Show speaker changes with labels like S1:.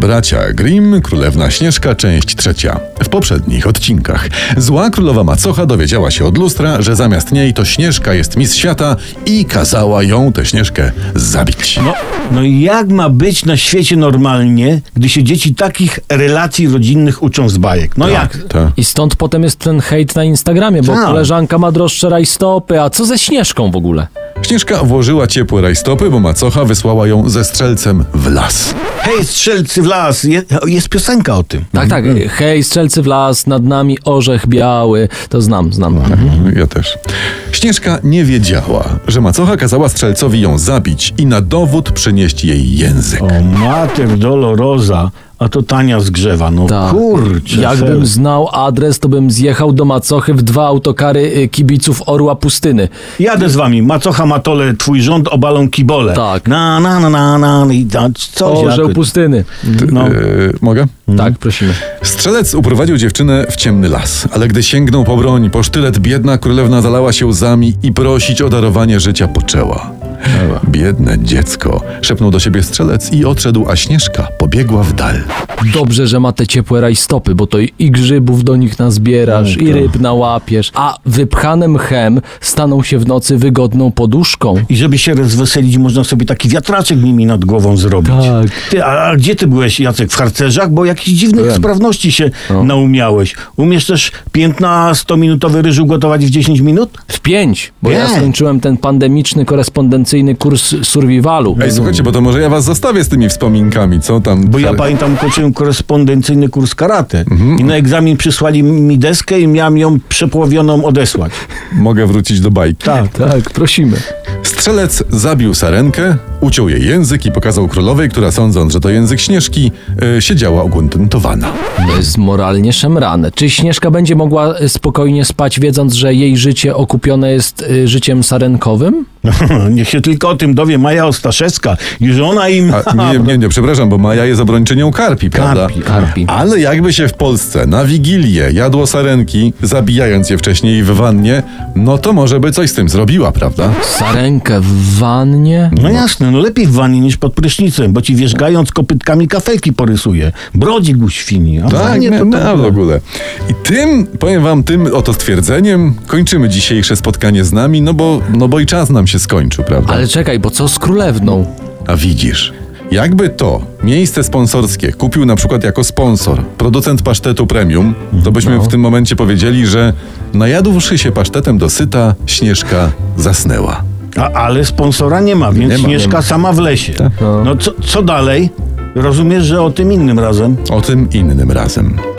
S1: Bracia Grimm, Królewna Śnieżka, część trzecia. W poprzednich odcinkach zła królowa macocha dowiedziała się od lustra, że zamiast niej to Śnieżka jest mistrz świata i kazała ją, tę Śnieżkę, zabić.
S2: No, no i jak ma być na świecie normalnie, gdy się dzieci takich relacji rodzinnych uczą z bajek? No jak?
S1: Tak.
S3: I stąd potem jest ten hejt na Instagramie, bo
S2: Tak.
S3: koleżanka ma droższe rajstopy, a co ze Śnieżką w ogóle?
S1: Śnieżka włożyła ciepłe rajstopy, bo macocha wysłała ją ze strzelcem w las.
S2: Hej, strzelcy w las! Je, jest piosenka o tym.
S3: Tak, tak,
S2: Mhm.
S3: hej, strzelcy w las, nad nami orzech biały, to znam, znam.
S2: Mhm.
S1: Mhm, Ja też. Śnieżka nie wiedziała, że macocha kazała strzelcowi ją zabić i na dowód przynieść jej język.
S2: O, mater dolorosa, a to tania zgrzewa. No
S3: Tak.
S2: kurczę.
S3: Jakbym
S2: serio.
S3: znał adres, to bym zjechał do Macochy w dwa autokary y, kibiców Orła Pustyny.
S2: Jadę z wami, macocha matole, twój rząd obalą kibole.
S3: Tak.
S2: Na, na, na, na, na, i na coś
S3: Orzeł
S2: jakoś.
S3: Pustyny.
S2: No.
S1: E, mogę?
S2: Mhm.
S3: Tak, prosimy.
S1: Strzelec uprowadził dziewczynę w ciemny las, ale gdy sięgnął po broń, po sztylet biedna królewna zalała się łzami i prosić o darowanie życia poczęła. Biedne dziecko, szepnął do siebie strzelec i odszedł, a Śnieżka pobiegła w dal.
S3: Dobrze, że ma te ciepłe rajstopy, bo to i grzybów do nich nazbierasz,
S2: No tak.
S3: i ryb nałapiesz, a wypchane mchem staną się w nocy wygodną poduszką.
S2: I żeby się rozweselić, można sobie taki wiatraczek nimi nad głową zrobić.
S3: Tak.
S2: Ty, a, a gdzie ty byłeś, Jacek? W harcerzach? Bo jakichś dziwnych sprawności się
S1: No.
S2: naumiałeś. Umiesz też 15-minutowy ryż ugotować w 10 minut?
S3: W pięć, bo ja
S2: Pięć.
S3: skończyłem ten pandemiczny korespondencyjny kurs survivalu.
S1: Ej, słuchajcie, bo to może ja was zostawię z tymi wspominkami, co tam?
S2: Bo ja pamiętam, ukończyłem korespondencyjny kurs karate.
S1: Mhm.
S2: I na egzamin przysłali mi deskę i miałem ją przepłowioną odesłać.
S1: Mogę wrócić do bajki.
S2: Tak.
S3: Tak, prosimy.
S1: Strzelec zabił sarenkę, uciął jej język i pokazał królowej, która sądząc, że to język Śnieżki, e, siedziała ugruntowana.
S3: To jest moralnie szemrane. Czy Śnieżka będzie mogła y, spokojnie spać, wiedząc, że jej życie okupione jest y, życiem sarenkowym?
S2: No, Niech się tylko o tym dowie Maja Ostaszewska. Już ona im...
S1: A, nie, nie, nie, przepraszam, bo Maja jest obrończynią karpi, prawda?
S2: Karpi,
S3: karpi.
S1: Ale jakby się w Polsce na Wigilię jadło sarenki, zabijając je wcześniej w wannie, no to może by coś z tym zrobiła, prawda?
S3: Sarenkę w wannie?
S2: No jasne, no lepiej w wannie niż pod prysznicem, bo ci wierzgając kopytkami kafelki porysuje. Brodzik u świni, a
S1: Tak,
S2: nie
S1: nie,
S2: to
S1: no,
S2: tak.
S1: w ogóle. I tym, powiem wam, tym oto stwierdzeniem kończymy dzisiejsze spotkanie z nami, no bo, no bo i czas nam się skończył, prawda?
S3: Ale czekaj, bo co z królewną?
S1: A widzisz, jakby to miejsce sponsorskie kupił na przykład jako sponsor producent pasztetu premium, to byśmy w tym momencie powiedzieli, że najadłszy się pasztetem do syta, Śnieżka zasnęła.
S2: A, ale sponsora nie ma, więc
S1: Nie ma, nie
S2: mieszka
S1: ma. Tak,
S2: sama w lesie. No co, co dalej? Rozumiesz, że o tym innym razem.
S1: O tym innym razem.